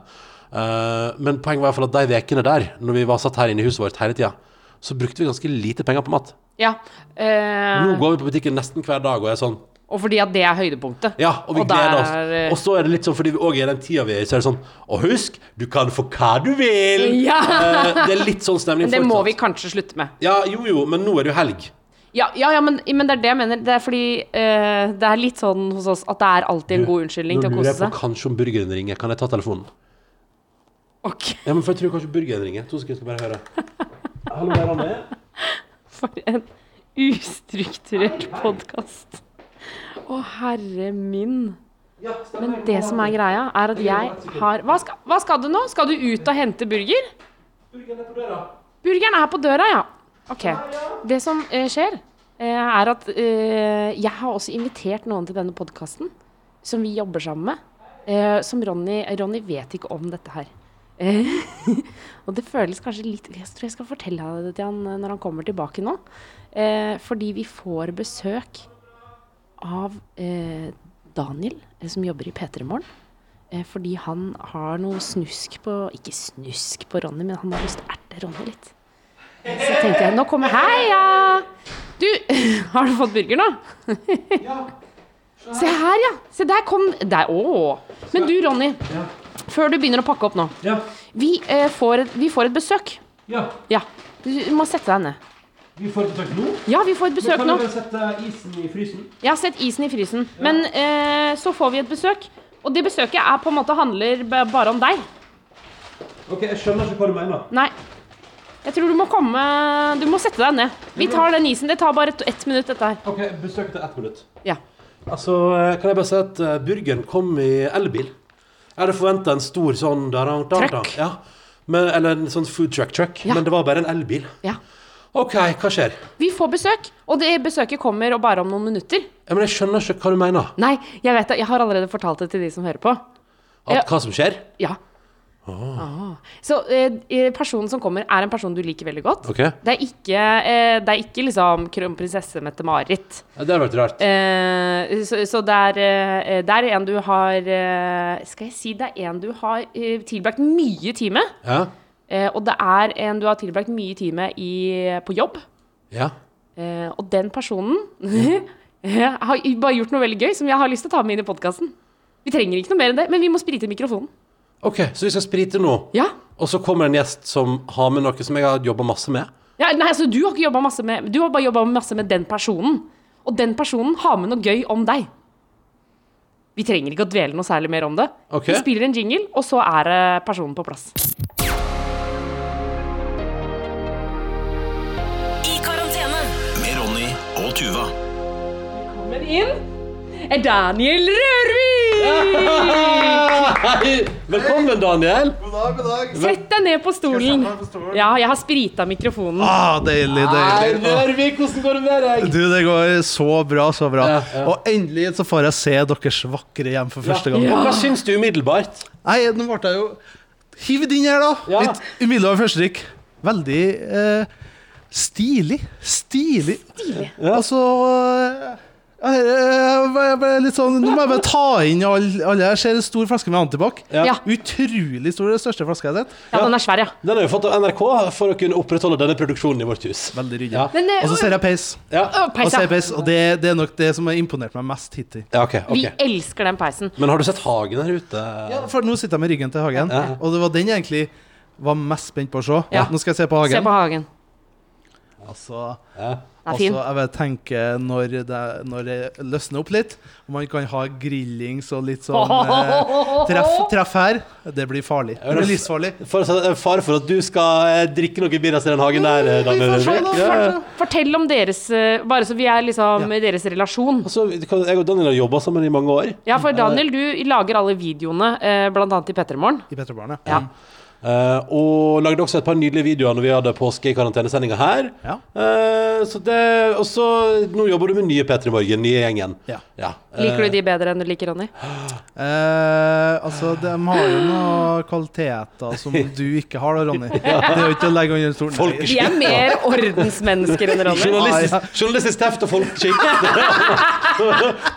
Eh, men poenget var i hvert fall at de ukene der, når vi var satt her inne i huset vårt hele tida, så brukte vi ganske lite penger på mat.
Ja. eh,
Nå går vi på butikken nesten hver dag og er sånn
og fordi at det er høydepunktet.
Ja, og vi
der
gleder oss.
er- eh,
Og så er det litt sånn, fordi vi òg er i den tida vi er i, så er det sånn Og husk, du kan få hva du vil!
Ja.
Eh, det er litt sånn stemning
Men det
fortsatt.
må vi kanskje slutte med.
Ja, jo jo, men nå er det jo helg.
Ja, ja, ja men, men det er det jeg mener. Det er fordi eh, det er litt sånn hos oss at det er alltid en god unnskyldning
Nå
til å
lurer
kose
jeg på
seg.
kanskje om burgeren ringer. Kan jeg ta telefonen?
Ok,
Ja, men for jeg tror kanskje burgeren ringer. To sekunder, skal bare høre. Hallo, der han er.
for en ustrukturert podkast. Å, herre min.
Ja, stemmer.
Men det som er greia, er at jeg har Hva skal, hva skal du nå? Skal du ut og hente burger?
Burgeren er på døra.
Burgeren er på døra, ja. Ok. Det som eh, skjer, eh, er at eh, jeg har også invitert noen til denne podkasten, som vi jobber sammen med. eh, som Ronny Ronny vet ikke om dette her. Eh, og det føles kanskje litt Jeg tror jeg skal fortelle det til han eh, når han kommer tilbake nå. Eh, fordi vi får besøk av eh, Daniel, eh, som jobber i P3 Morgen. Eh, fordi han har noe snusk på Ikke snusk på Ronny, men han har lyst til å erte Ronny litt. Så tenkte jeg nå kommer Heia! Du, har du fått burger nå? Se her, ja. Se, der kom Der, å. Men du, Ronny. Før du begynner å pakke opp nå.
Ja.
Vi, eh, får, et, vi får et besøk.
Ja.
Ja. Du må sette deg ned.
Vi får besøk nå.
Ja, vi får et besøk nå.
sette isen i frysen?
Jeg har sett isen i frysen. Men eh, så får vi et besøk. Og det besøket er på en måte handler b- bare om deg.
OK, jeg skjønner ikke hva du mener.
Nei. Jeg tror du må komme Du må sette deg ned. Vi tar den isen. Det tar bare ett ett minutt, dette her.
OK, besøk til ett minutt.
Ja.
Altså, eh, kan jeg bare si at eh, burgeren kom i elbil. Jeg hadde forventa en stor sånn der, der, der,
Truck.
Ja. Men, eller en sånn food truck truck.
Ja.
Men det var bare en elbil.
ja.
OK, hva skjer?
Vi får besøk, og det besøket kommer og bare om noen minutter.
Ja, men jeg skjønner ikke hva du mener.
Nei, jeg vet det. Jeg har allerede fortalt det til de som hører på.
At,
Ja.
Hva som skjer?
Ja. Ah. Så eh, eh, personen som kommer, er en person du liker veldig godt.
Ok.
Det er ikke, eh, det er ikke liksom kronprinsesse Mette-Marit.
Ja, det hadde vært rart.
Eh, så, så det er, eh, det er en du har eh, Skal jeg si det er en du har eh, tilbrakt mye tid med?
Ja.
Eh, og det er en du har tilbrakt mye tid med i, på jobb.
ja.
Eh, og den personen eh, har bare gjort noe veldig gøy som jeg har lyst til å ta med inn i podkasten. Vi trenger ikke noe mer enn det, men vi må sprite mikrofonen.
OK, så vi skal sprite nå.
Ja.
Og så kommer en gjest som har med noe som jeg har jobba masse med.
ja nei, altså, du har ikke jobbet masse med Du har bare jobba masse med den personen. Og den personen har med noe gøy om deg. Vi trenger ikke å dvele noe særlig mer om det.
Ok.
Vi spiller en jingle, og så er det personen på plass.
I karantene.
Med Ronny og Tuva.
Kommer inn er Daniel Rørvik!
Hei! Velkommen, Daniel.
God dag, god dag.
Sett deg ned på stolen.
Skal jeg sette meg på stolen?
Ja, jeg har sprita mikrofonen.
Ah, deilig,
Hei,
deilig. Åh,
Rørvik, hvordan går det med deg?
Du, det går så bra, så bra.
Ja, ja.
Og endelig så får jeg se deres vakre hjem for første gang.
Hva syns du umiddelbart?
Nei, nå ble jeg jo Hiv det inn her, da.
Ja.
Litt umiddelbart førsteinntrykk. Veldig eh, stilig. Stilig. Altså eh, jeg, jeg, jeg ble litt sånn, Nå må jeg bare ta inn alle. alle. Jeg ser en stor flaske med antibac.
Ja.
Utrolig stor. Den største flaska jeg har sett.
Ja, den er svær, ja.
Den har vi fått av NRK for å kunne opprettholde denne produksjonen i vårt hus.
Veldig ryddig.
Ja.
Men, eh,
Og så ser jeg peis.
Ja,
Å,
Og,
peis, ja.
CPS, og det, det er nok det som har imponert meg mest hittil.
ja ok, ok.
Vi elsker den peisen.
Men har du sett hagen her ute?
Ja, for nå sitter jeg med ryggen til hagen,
Ja.
og det var den jeg egentlig var mest spent på å se.
Ja.
Nå skal jeg se
Se
på hagen.
på hagen.
Altså,
Ja.
Den er
altså,
fin.
jeg vil tenke når det, når det løsner opp litt, og man kan ha grillings og litt sånn eh, treff, treff her, det blir farlig. Det blir livsfarlig.
For, så- fare for at du skal eh, drikke noen birras i den hagen der, eh, Daniel
Vi får se, da,
Rørvik.
vi får
Ja, ja.
se.
Fortell om deres eh, Bare så vi er liksom i deres relasjon.
Altså, vi kan- jeg og Daniel har jobba sammen i mange år.
Ja, for Daniel, du lager alle videoene, eh, blant annet i Pettermorgen.
I Petrobarn, ja.
Ja.
Eh, og lagde også et par nydelige videoer når vi hadde påske i karantenesendinga her.
Ja.
Eh, så det, og så Nå jobber du med nye P3 Morgen, nye gjengen.
Ja.
Eh,
Liker du de bedre enn du liker Ronny?
Eh, altså, de har jo noen kvaliteter som du ikke har, da, Ronny. Det er jo ikke å legge under stolen.
Folk-
De er mer ordensmennesker enn Ronny.
Journalistisk,
Ja,
journalistisk teft og folkeskikk.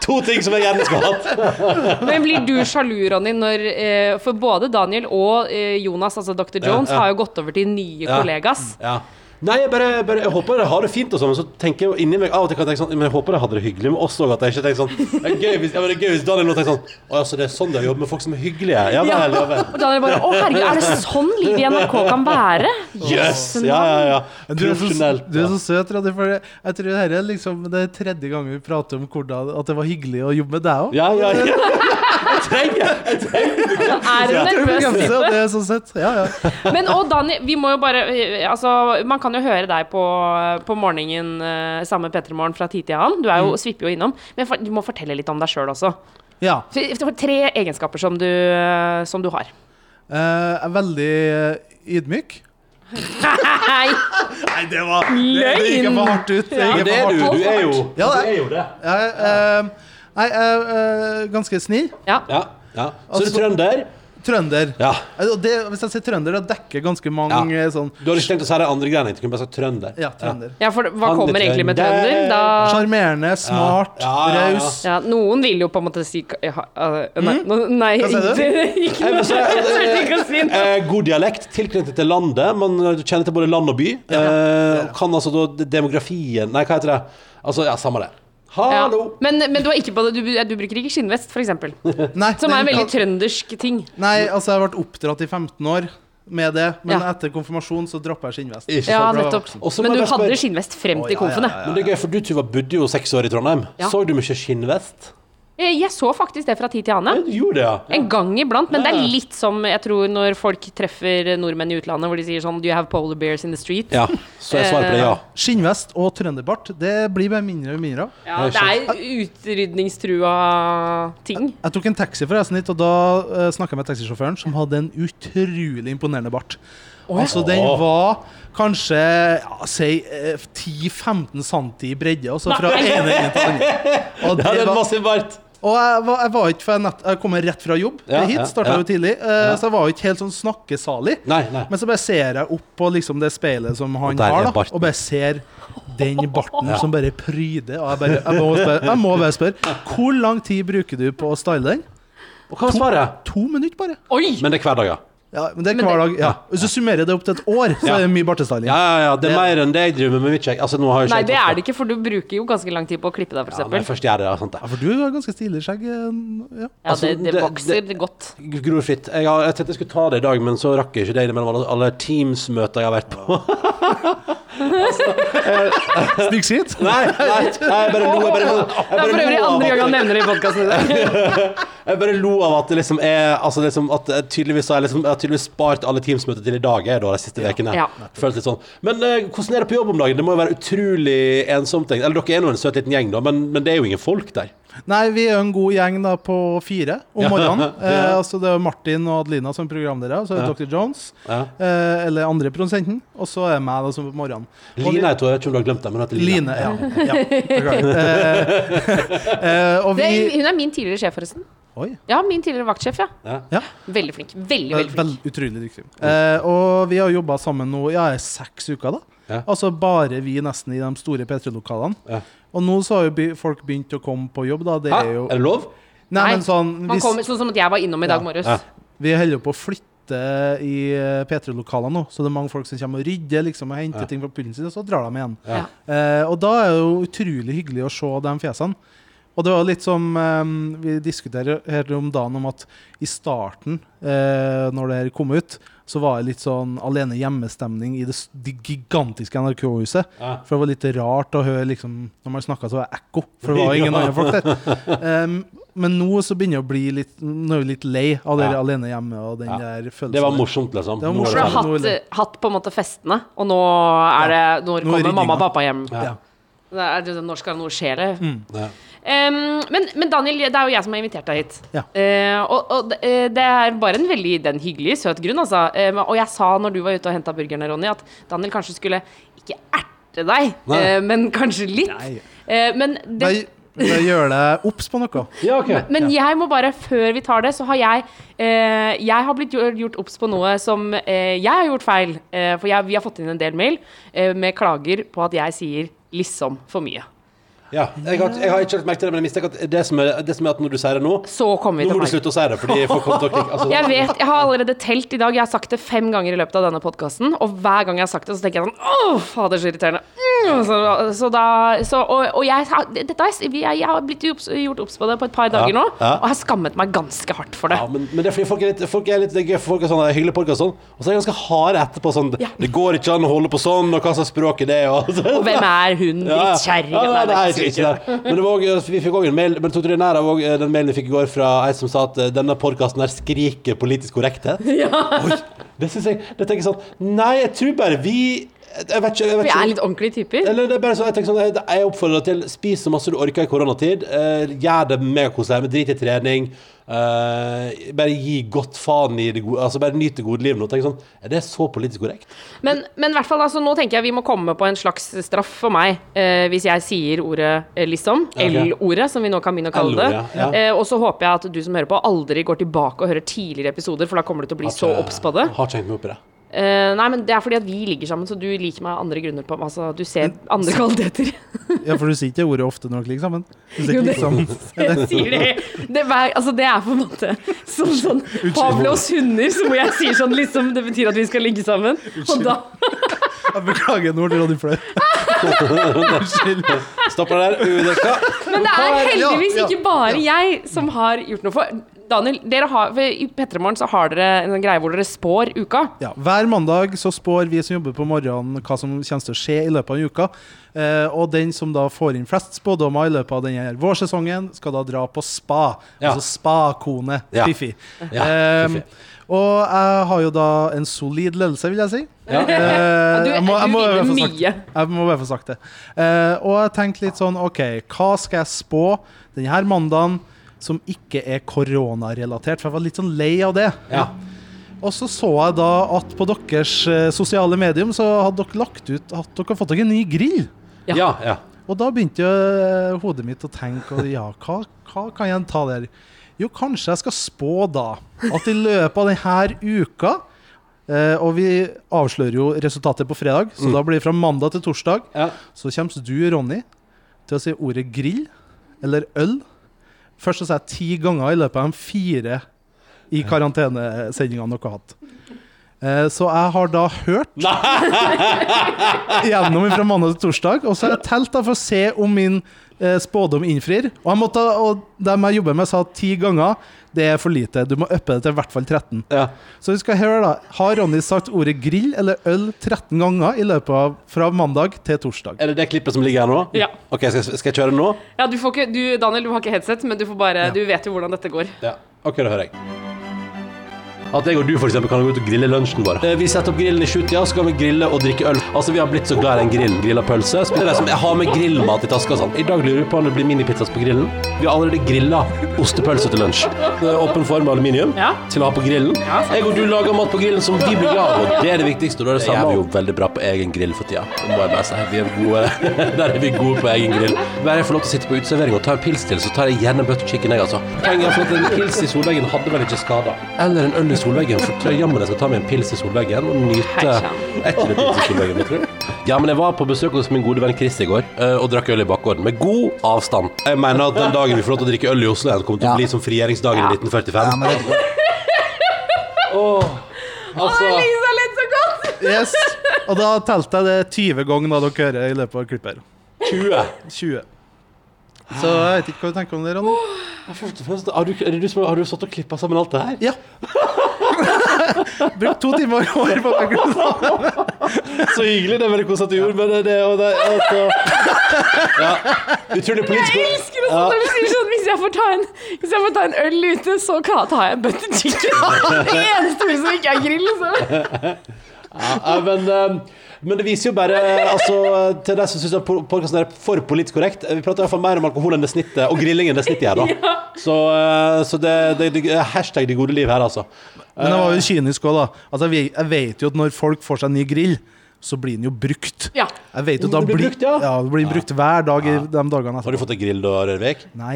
to ting som jeg gjerne skulle hatt.
Men blir du sjalu, Ronny, når eh, For både Daniel og eh, Jonas, altså Dr. Jones,
ja.
har jo gått over til nye
Ja.
kollegas.
Ja. Nei, jeg bare, bare jeg håper dere har det fint og sånn, men så tenker jeg jo inni meg av og til kan jeg tenke sånn Men jeg håper dere hadde det hyggelig med oss òg, at jeg ikke tenker sånn Det er gøy hvis, ja, men det er gøy hvis Daniel nå tenker sånn Å ja, så det er sånn de jobber med folk som er hyggelige? Ja
Ja.
vel, ja vel.
Og Daniel bare Å, herregud, er det sånn livet i NRK kan være?
Jøss! Yes, ja, ja, ja.
Du er, så,
Profesjonelt.
du er så søt, Ronny. For jeg jeg tror det her er liksom Det er tredje gang vi prater om hvordan, at det var hyggelig å jobbe med deg òg.
Ja, ja, ja. Jeg trenger jeg trenger det.
Han er en nervøs type.
Det er sånn sett. Ja, ja.
Men og Daniel, vi må jo bare eh, Altså, man kan jo høre deg på, på morgenen eh, sammen med Petter Morgen fra tid til annen. Du er
Mm.
jo, svipper jo innom. Men for, du må fortelle litt om deg sjøl også.
ja.
Så, det var Tre egenskaper som du, eh, som du har.
Eh, jeg er veldig eh, ydmyk.
Nei!
Nei, det var
det gikk jeg for hardt
ut.
Men det er du. Du er jo, du
Ja, det er-
er jo det.
Jeg, eh, nei, jeg er eh, ganske snill.
Ja.
Ja. ja. Så er du
Altså-
trønder.
Trønder.
Ja.
Eh, og Det, hvis jeg sier trønder, da dekker ganske mange
Ja.
eh, sånn
Du hadde ikke tenkt å si de andre greiene. Du kunne bare sagt trønder.
Ja, trønder.
ja, for hva
Han
kommer
litt
egentlig med
trønder.
trønder? Da
Sjarmerende, smart,
Ja, ja, ja.
raus.
ja, Noen vil jo på en måte si ka- ja, eh,
Mm?
Nei, nå- nei
Hva sa du?
ikke
Nei,
noe.
men så-
Jeg turte ikke å si noe.
Eh, god dialekt, tilknyttet til landet. Man eh, kjenner til både land og by. Eh, og kan altså da demografien Nei, hva heter det? Altså, ja, samme det.
Ja.
Hallo!
Men, men du, har ikke på det, du, du bruker ikke skinnvest, f.eks.,
Nei,
som er en
den
veldig
kan-
trøndersk ting.
Nei, altså, jeg ble oppdratt i 15 år med det, men
Ja.
etter konfirmasjon så droppa jeg skinnvest.
Ikke
Ja,
sant?
nettopp.
Og så må
Men du
jeg bare
hadde
spørre-
skinnvest frem
Å,
til
ja, ja,
konfene.
ja,
Men det er gøy, for du Tuva bodde jo seks år i Trondheim.
Ja.
Så du mye skinnvest?
Eh, Jeg så faktisk det fra tid til
Ja,
annen.
du gjorde det, ja.
En gang iblant, men det
Ja,
er
ja.
litt som jeg tror når folk treffer nordmenn i utlandet, hvor de sier sånn Do you have polar bears in the street?
ja. Så jeg svarer på
Eh.
det, ja.
Skinnvest og trønderbart, det blir bare mindre og mindre av.
Ja, det er utrydningstrua ting.
Jeg tok en taxi forresten hit, og da uh, snakka jeg med taxisjåføren, som hadde en utrolig imponerende bart. Altså, den
Åh.
var kanskje ja, si eh, 10-15 cm i bredde, altså fra
Nei.
ene enden til den andre. Og,
Ja, det
det
er
var,
massiv bart.
og jeg, var, jeg var ikke for jeg, nett, jeg kom rett fra jobb
Ja,
hit,
ja,
starta
ja.
jo tidlig, eh, så jeg var jo ikke helt sånn snakkesalig.
Nei, nei.
Men så bare ser jeg opp på liksom det speilet som
Og
han
der er
har, da,
barten.
og bare ser den barten som bare pryder. Og jeg, bare, jeg, må spørre, jeg må bare spørre, hvor lang tid bruker du på å style den?
Og hva var svaret?
To minutter bare.
Oi!
Men det er hver dag, ja.
Ja, men det er hver dag. Ja. Hvis du summerer det opp til et år, så
Ja.
er det mye bartestyling.
Ja, ja, ja. Det er mer enn det jeg driver med med mitt skjegg. Altså, nå har jeg
Nei, det er det ikke, for du bruker jo ganske lang tid på å klippe deg,
Ja, når jeg
f.eks.
først gjør det, ja, sant det.
Ja, for du har ganske stilig skjegg. eh, Ja.
Ja,
altså,
det, det
det-
vokser
det-
godt.
Gror fritt. Jeg, har, jeg tenkte jeg skulle ta det i dag, men så rakk jeg ikke det innimellom alle, alle Teams-møter jeg har vært på.
Snikk sitt.
Nei, nei, nei jeg bare lo. Jeg bare, lo- jeg
Det er for
bare,
øvrig
lo av
andre gang han
at-
nevner det i podkasten.
jeg bare lo av at det liksom er Altså liksom at jeg tydeligvis har jeg liksom, jeg har tydeligvis spart alle Teams-møter til i dag, jeg, da, de siste ukene.
Ja.
Føles litt sånn. Men eh, hvordan er det på jobb om dagen? Det må jo være utrolig ensomt. tenker jeg. Eller dere er nå en søt liten gjeng, da, men, men det er jo ingen folk der.
Nei, vi er jo en god gjeng da på fire om
Ja.
morgenen. Eh,
Ja.
altså det er jo Martin og Adelina som er programledere, og så er det Dr. Jones.
Ja.
Eh, eller andre produsenten. Og så er det meg da som er på morgenen. Og vi-
Line, jeg tror jeg vet ikke om du har glemt det, men hun heter Line.
Line, ja. ja. beklager. Eh, eh, og
Det er,
vi
hun er min tidligere sjef, forresten.
Oi.
Ja, min tidligere vaktsjef, ja.
Ja.
Ja.
Veldig flink. Veldig,
Vel,
veldig flink.
utrolig dyktig. Eh, og vi har jobba sammen nå ja, i seks uker, da.
Ja.
Altså bare vi nesten i de store P3-lokalene.
Ja.
Og nå så har jo by- folk begynt å komme på jobb, da. Det
Hæ?
er jo
Er det lov?
Nei, men sånn
man
hvis-
kommer, Sånn som at jeg var innom i dag morges.
Ja.
Vi holder jo på å flytte i eh, P3-lokalene nå, så det er mange folk som kommer og rydder liksom, og henter ting fra pulten sin, og så drar de igjen.
Ja.
Eh, og da er det jo utrolig hyggelig å se de fjesene. Og det var litt som eh, vi diskuterer her om dagen, om at i starten, eh, når det her kom ut, så var det litt sånn alene hjemmestemning i det, s- det gigantiske NRK-huset.
Ja.
For det var litt rart å høre liksom, når man snakka, så var det ekko. For det var ingen
Ja.
andre folk der. Em, men nå så begynner jeg å bli litt, nå er jeg litt lei av det
Ja.
alene hjemme og den der følelsen.
Det var morsomt, liksom.
Det var
Nå er
For
morsomt.
du har
Ja, nå
hatt,
er det-
hatt på en måte festene, og nå er det Når
Nå er
kommer mamma
ryddinga.
og pappa hjem?
Ja.
Mm.
Det er, det- når skal noe skje, eller?
Ja.
Ehm, men, men Daniel, det er jo jeg som har invitert deg hit.
Ja.
Eh, og og det, eh, det er bare en veldig den hyggelig, søt grunn, altså. Eh, og jeg sa når du var ute og henta burgerne, Ronny, at Daniel kanskje skulle ikke erte deg,
Nei.
eh, men kanskje litt.
Nei.
Eh, men det,
Nei, det gjør deg obs på noe.
Ja, ok.
men jeg må bare, før vi tar det, så har jeg eh, Jeg har blitt gjort, gjort obs på noe som eh, jeg har gjort feil. Eh, for jeg, vi har fått inn en del mail eh, med klager på at jeg sier 'liksom' for mye.
Ja, jeg, har, jeg har ikke lagt merke til det, men jeg mistenker at det som er, det som er at når du sier det nå
Så kommer vi
Nå må
til
du
meg.
slutte å si det, fordi folk kommer til å klikke. Altså,
Jeg vet, jeg har allerede telt i dag. Jeg har sagt det fem ganger i løpet av denne podkasten. Og hver gang jeg har sagt det, så tenker jeg sånn Åh, fader, så irriterende. Mm, så, så da så, Og, og jeg, har- dette har jeg, jeg, jeg har blitt obs- gjort obs på det på et par dager nå,
ja.
og jeg har skammet meg ganske hardt for det.
Ja, men, men det er fordi folk er litt, folk er litt det er gøy, for folk er sånn, det er hyggelig folk og sånn, og så er de ganske harde etterpå sånn
Ja.
Det går ikke an å holde på sånn, og hva slags språk er det, og
Og hvem er hun
Ja,
drittkjerringen?
Ja, nei,
der?
nei, ikke, ikke det. Men det var, også- altså, vi fikk òg en mail Men tok du den her av også, eh, den mailen vi fikk i går fra ei som sa at eh, denne podkasten her skriker politisk korrekthet? Oi, det syns jeg Det tenker jeg sånn Nei, jeg tror bare vi Jeg vet ikke. Jeg vet
Vi
ikke.
er litt ordentlige typer.
Eller det er bare sånn, jeg tenker sånn, jeg- jeg oppfordrer deg til Spis så masse du orker i koronatid eh, Gjør det megakoselig hjemme, drit i trening eh, Bare gi godt faen i det gode Altså bare nyt det gode livet nå Tenk sånn, er det så politisk korrekt?
Men, men i hvert fall, altså, nå tenker jeg vi må komme på en slags straff for meg eh, hvis jeg sier ordet eh, liksom.
Ja, ok.
L-ordet, som vi nå kan begynne å kalle det.
L-ordet, ja.
Eh, og så håper jeg at du som hører på, aldri går tilbake og hører tidligere episoder, for da kommer du til å bli så obs på det.
Jeg Har ikke hengt meg opp i det
Eh, nei, men det er fordi at vi ligger sammen, så du liker meg av andre grunner på Altså, du ser andre kvaliteter.
Ja, for du sier ikke ordet ofte når dere ligger sammen. Du sier
Jo,
ikke
det-
liksom
Jeg sier det. Det, er, altså, det er på en måte som sånn Pavlos hunder, som hvor jeg sier sånn liksom Det betyr at vi skal ligge sammen. Og da
Jeg beklager, nå ble Ronny flau. Unnskyld.
Stopper der, udekka
Men det er
Ja,
heldigvis
ja,
ikke bare jeg som har gjort noe for Daniel, dere har, for i Petremorgen så har dere en sånn greie hvor dere spår uka.
Ja, hver mandag så spår vi som jobber på morgenen hva som kommer til å skje i løpet av en uke. Eh, og den som da får inn flest spådommer i løpet av denne vårsesongen, skal da dra på spa.
Ja.
Altså spakone.
Ja.
Fiffi.
Ja,
Eh,
fiffi.
og jeg har jo da en solid ledelse, vil jeg si.
Ja.
Eh,
du-
jeg må- jeg
du
må i hvert
vinner
fall sagt-
mye.
Jeg må bare få sagt det. Eh, og jeg tenkte litt sånn OK, hva skal jeg spå denne her mandagen som ikke er koronarelatert? For jeg var litt sånn lei av det.
Ja
Og så så jeg da at på deres eh, sosiale medium så hadde dere lagt ut at dere har fått dere en ny grill.
Ja.
Ja, ja.
Og da begynte jo eh, hodet mitt å tenke og ja, hva, hva kan jeg ta der? Jo, kanskje jeg skal spå da at i løpet av denne uka eh, Og vi avslører jo resultatet på fredag, så da blir det fra mandag til torsdag.
ja.
Så kommer du, Ronny, til å si ordet grill eller øl. Først så sa jeg ti ganger i løpet av de fire i karantenesendingene dere har hatt. Eh, Så jeg har da hørt gjennom fra mandag til torsdag, og så har jeg telt da for å se om min eh, spådom innfrir. Og, jeg måtte, og dem jeg jobber med, sa ti ganger det er for lite. Du må uppe det til i hvert fall 13.
ja.
Så vi skal høre, da. Har Ronny sagt ordet grill eller øl 13 ganger i løpet av fra mandag til torsdag?
Er det det klippet som ligger her nå?
Ja.
Ok, skal, skal jeg kjøre nå?
Ja, du får ikke, du, Daniel, du har ikke headset, men du får bare Du vet jo hvordan dette går.
Ja. Ok, da hører jeg. At jeg og du for eksempel, kan gå ut og grille lunsjen vår. Eh, Vi setter opp grillen i sjutida, så kan vi grille og drikke øl. Altså, Vi har blitt så glad i den grillen. Grilla pølse. Spiller det som jeg har med grillmat i taska. og sånn. I dag lurer vi på om det blir minipizzas på grillen. Vi har allerede grilla ostepølse til lunsj. Det er Åpen form av aluminium
Ja.
til å ha på grillen.
Ja.
Jeg og du lager mat på grillen som vi blir glad av, og det er det viktigste. Og da er det samme. Det gjør vi jo veldig bra på egen grill for tida. Det må jeg bare si. Vi er gode. Der er vi gode på egen grill. Bare jeg får lov til å sitte på uteservering og ta en pils til, så tar jeg gjerne butter chicken, jeg, altså. Poenget er for at en pils i solveggen hadde vel ikke skada. Eller en øl i solveggen, for tror jeg jammen jeg skal ta meg en pils i solveggen og nyte
Hei, sann.
Er ikke det pils i solveggen, tror du? Ja, men jeg var på besøk hos min gode venn Chris i går eh, og drakk øl i bakgården med god avstand. Jeg mener at den dagen vi får lov til å drikke øl i Oslo igjen, kommer til å
Ja.
bli som frigjøringsdagen i 1945.
Ja, men det,
Altså,
Lisa ledd så godt!
Yes. Og da telte jeg det 20 ganger da dere hører i løpet av klippet. her.
20.
20. Så jeg vet ikke hva du tenker om det, Ronny.
Først og fremst, har du, er det du som, har du satt og klippa sammen alt det her?
Ja. Brukt to timer i år på det.
Så hyggelig, det er veldig koselig at du gjorde men det. det, og det altså. ja, utrolig politisk
Jeg elsker også når du sier sånn hvis jeg, får ta en, hvis jeg får ta en øl ute, så kan- tar jeg en butter chicken. Det eneste ordet som ikke er grill, så.
Ja, men, eh, Men det viser jo bare altså, Til de som syns podkasten er for politisk korrekt Vi prater i hvert fall mer om alkohol enn det snittet, og grilling enn det snittet gjør, da. Så, eh, så det, det, det er hashtag det gode liv her, altså.
Men jeg var jo kynisk òg, da. Altså, jeg, vet, jeg vet jo at når folk får seg ny grill, så blir den jo brukt.
Ja.
Jeg vet jo da
Den blir
blir,
brukt, ja.
det blir brukt hver dag i de dagene
Har du
etterpå.
fått deg grill da, Rørvik?
Nei,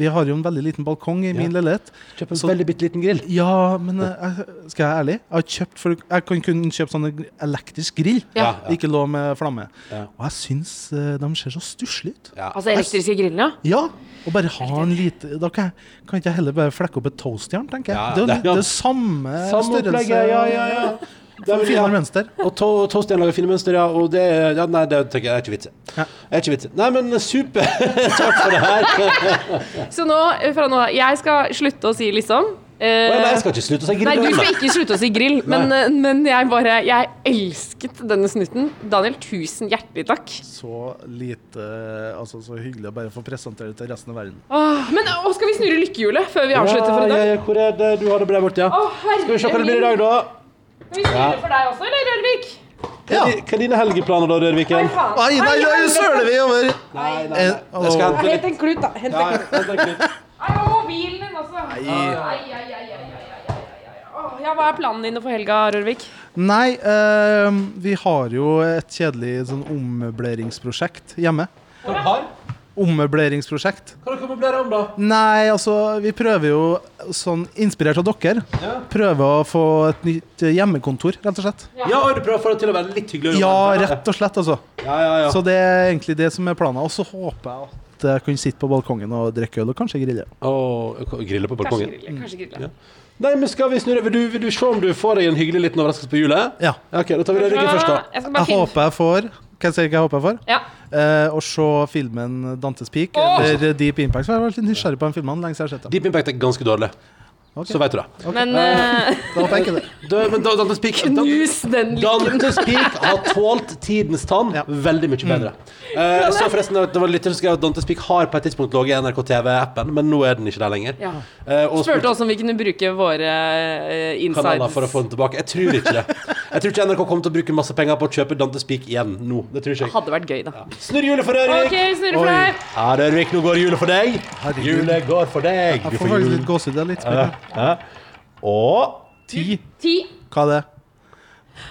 vi har jo en veldig liten balkong i min leilighet.
Kjøp en
Så-
veldig bitte liten grill.
Ja, men eh, jeg, skal jeg være ærlig? Jeg har kjøpt for, Jeg kan kun kjøpe sånn elektrisk grill.
Ja.
Det Ikke lå med flamme. Og jeg syns eh, de ser så stusslige ut.
Ja.
Altså elektriske grillene, ja.
Ja, og bare ha en lite Da kan jeg, kan ikke jeg heller bare flekke opp et toastjern, tenker jeg.
Ja,
det er jo
det-
litt- det er samme,
Samme opplegget,
størrelse.
ja, ja, ja. Det er vel-
Finere mønster.
Og to, Tostein lager fine mønster, ja. Og det, ja, nei, det tenker jeg er ikke vits i. Er ikke vits i. Nei, men super! Takk for det her.
Så nå, eh, fra nå av, jeg skal slutte å si liksom. Eh,
Å, ja, nei, jeg skal ikke slutte å si grill.
Nei, du skal ikke slutte å si grill, men, eh, men jeg bare Jeg elsket denne snutten. Daniel, tusen hjertelig takk.
Så lite Altså, så hyggelig å bare få presentere det til resten av verden.
Åh, men å, skal vi snurre lykkehjulet før vi avslutter for
Ja,
i dag?
ja, ja, hvor er det? Du har det bra borte, ja.
Å, herre
Skal vi se hva det blir i
min.
dag, da?
Skal vi snurre for deg også, eller, Rørvik?
Ja.
Hva er di- Hva er dine helgeplaner, da, Rørviken?
Faen.
Nei, nei, nei, nå søler vi over!
Nei, nei,
Eh,
nei. Jeg skal hente litt.
Hent en klut, da. Hent en
Nei, vent en klipp.
Nei, og mobilen din også. Ai, ai, ai, ai, ai, ai, ai, ai, ai. Åh, Ja, hva er planen din for helga, Rørvik?
Nei, eh, vi har jo et kjedelig sånn ommøbleringsprosjekt hjemme.
Hva har
Ommøbleringsprosjekt.
Hva har dere møblert om, da?
Nei, altså, vi prøver jo, sånn inspirert av dere, prøver å få et nytt hjemmekontor, rett og slett.
Ja, og du prøver å få det til å være litt hyggelig. å
Ja,
jobbe med.
rett og slett, altså.
Ja, ja, ja.
Så det er egentlig det som er planen. Og så håper jeg at jeg kan sitte på balkongen og drikke øl, og kanskje grille.
Å, grille på
Kanskje
balkongen.
grille. Kanskje grille.
Nei, men skal vi snurre? Vil du, vil du se om du får deg en hyggelig liten overraskelse på julet?
Ja.
Ok, da tar vi Rørviken først, da.
Jeg skal bare
Jeg
finne
håper jeg får Kan jeg si hva jeg håper jeg får?
ja.
Eh, å se filmen 'Dantes Peak'
Åh!
eller 'Deep Impact'. For jeg var litt nysgjerrig på den filmen lenge siden jeg har sett den.
Deep Impact er ganske dårlig.
Ok.
Så vet du det.
Men eh,
Da håper jeg ikke det.
Du, men da- Dantes Peak Dan-
nus den litt.
Dantes Peak har tålt tidens tann
Ja.
veldig mye bedre. Eh, jeg så forresten at det var litt som skrev at Dantes Peak har på et tidspunkt ligget i NRK TV-appen, men nå er den ikke der lenger.
Ja.
Eh, og
Spurte
spurte
oss om vi kunne bruke våre eh,
kanaler
insides.
for å få den tilbake. Jeg tror ikke det. Jeg tror ikke NRK kommer til å bruke masse penger på å kjøpe Dantes Peak igjen nå. Det tror ikke jeg.
Hadde vært gøy, da.
Snurr hjulet for Rørvik!
OK, snurre for
Oi.
deg.
Ja, Rørvik, nå går hjulet for deg.
Herregud.
Hjulet går for deg. Du
Jeg får
får
faktisk
jul.
litt gåsehud. det er Litt spennende.
Og
Ti.
Ti.
Hva er det?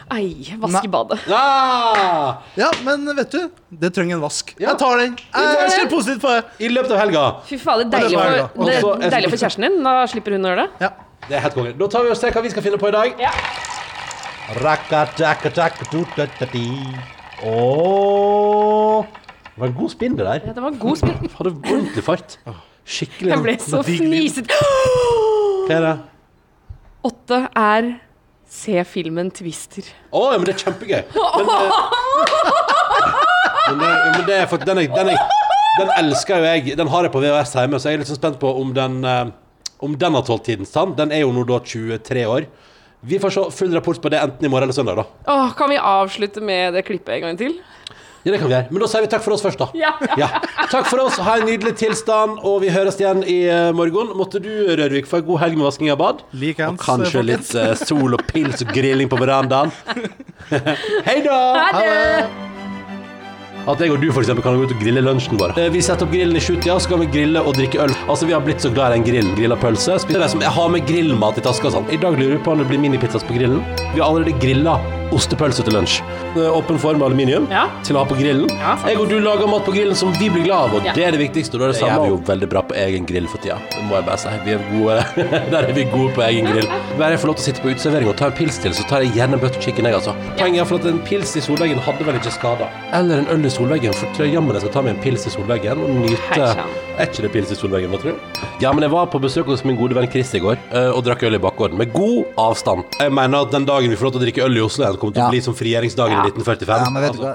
Ei, vask i badet.
ah!
Ja, men vet du, det trenger en vask.
Ja.
Jeg tar den. Jeg, jeg ser positivt på det.
I løpet av helga.
Fy fader, deilig,
det var
for-
helga. Og
det
så-
er deilig for kjæresten din. Da slipper hun å gjøre det.
Ja.
Det er helt konge. Da tar vi og ser hva vi skal finne på i dag.
Ja.
Rakka-takka-takka-tu-ta-ta-ti. Åh. Det var en god spinn, det der.
Ja, det var en god spill.
Hadde ordentlig fart. Skikkelig.
Jeg ble så fnisete.
Hva er det?
Åtte er se filmen Twister.
Å, ja, men det er kjempegøy. Men, eh, men, det, men det er for, den, er, den, er, den elsker jo jeg. Den har jeg på VHS hjemme, så jeg er litt sånn spent på om den, eh, om den har tålt tidens tann. Den er jo nå da 23 år. Vi får se full rapport på det enten i morgen eller søndag, da.
Åh, kan vi avslutte med det klippet en gang til?
Ja, det kan vi gjøre. Men da sier vi takk for oss først, da.
Ja.
Ja. Takk for oss, ha en nydelig tilstand, og vi høres igjen i eh, morgen. Måtte du, eh, Rørvik, få en god helg med vasking av bad.
Likeens,
og kanskje
folkens.
litt eh, sol og pils og grilling på verandaen. Hei da!
Ha det!
At jeg og du for eksempel kan gå ut og grille lunsjen vår. Eh, Vi setter opp grillen i sjutida, så kan vi grille og drikke øl. Altså, Vi har blitt så glad i den grillen. Grilla pølse. Spiser det som jeg har med grillmat i taska. og Sånn. I dag lurer vi på om det blir minipizzas på grillen. Vi har allerede grilla ostepølse til lunsj. Eh, Åpen form av aluminium
Ja.
til å ha på grillen.
Ja, sant.
jeg og du lager mat på grillen som vi blir glad av, og
Ja.
det er det viktigste. Og da er det samme. Det gjør vi jo veldig bra på egen grill for tida. Det må jeg bare si. Vi er gode. Der er vi gode på egen grill. Bare jeg får lov til å sitte på uteservering og ta en pils til, så tar jeg gjerne butter chicken, jeg, altså. Poenget er for at en pils i solveggen hadde vel ikke skada. Eller en øl i solveggen, for tror jeg jammen jeg skal ta med en pils i solveggen og nyte
Hei, sann.
Er ikke det pils i solveggen, hva tror du? Ja, men jeg var på besøk hos min gode venn Chris i går eh, og drakk øl i bakgården, med god avstand. Jeg mener at den dagen vi får lov til å drikke øl i Oslo igjen, kommer til
Ja.
å bli som frigjøringsdagen
Ja.
i 1945. Altså,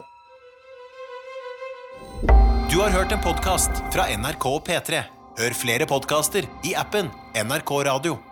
Du har hørt en podkast fra NRK P3. Hør flere podkaster i appen NRK Radio.